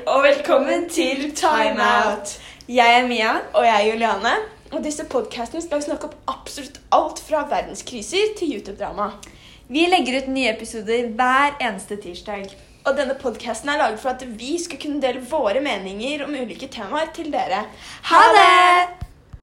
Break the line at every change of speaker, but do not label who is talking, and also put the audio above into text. Velkommen til Time Out. Jeg er Mia.
Og jeg er Juliane.
Og disse podcastene skal snakke om absolutt alt fra verdenskriser til YouTube-drama.
Vi legger ut nye episoder hver eneste tirsdag.
Og denne podcasten er laget for at vi skal kunne dele våre meninger om ulike temaer til dere.
Ha det!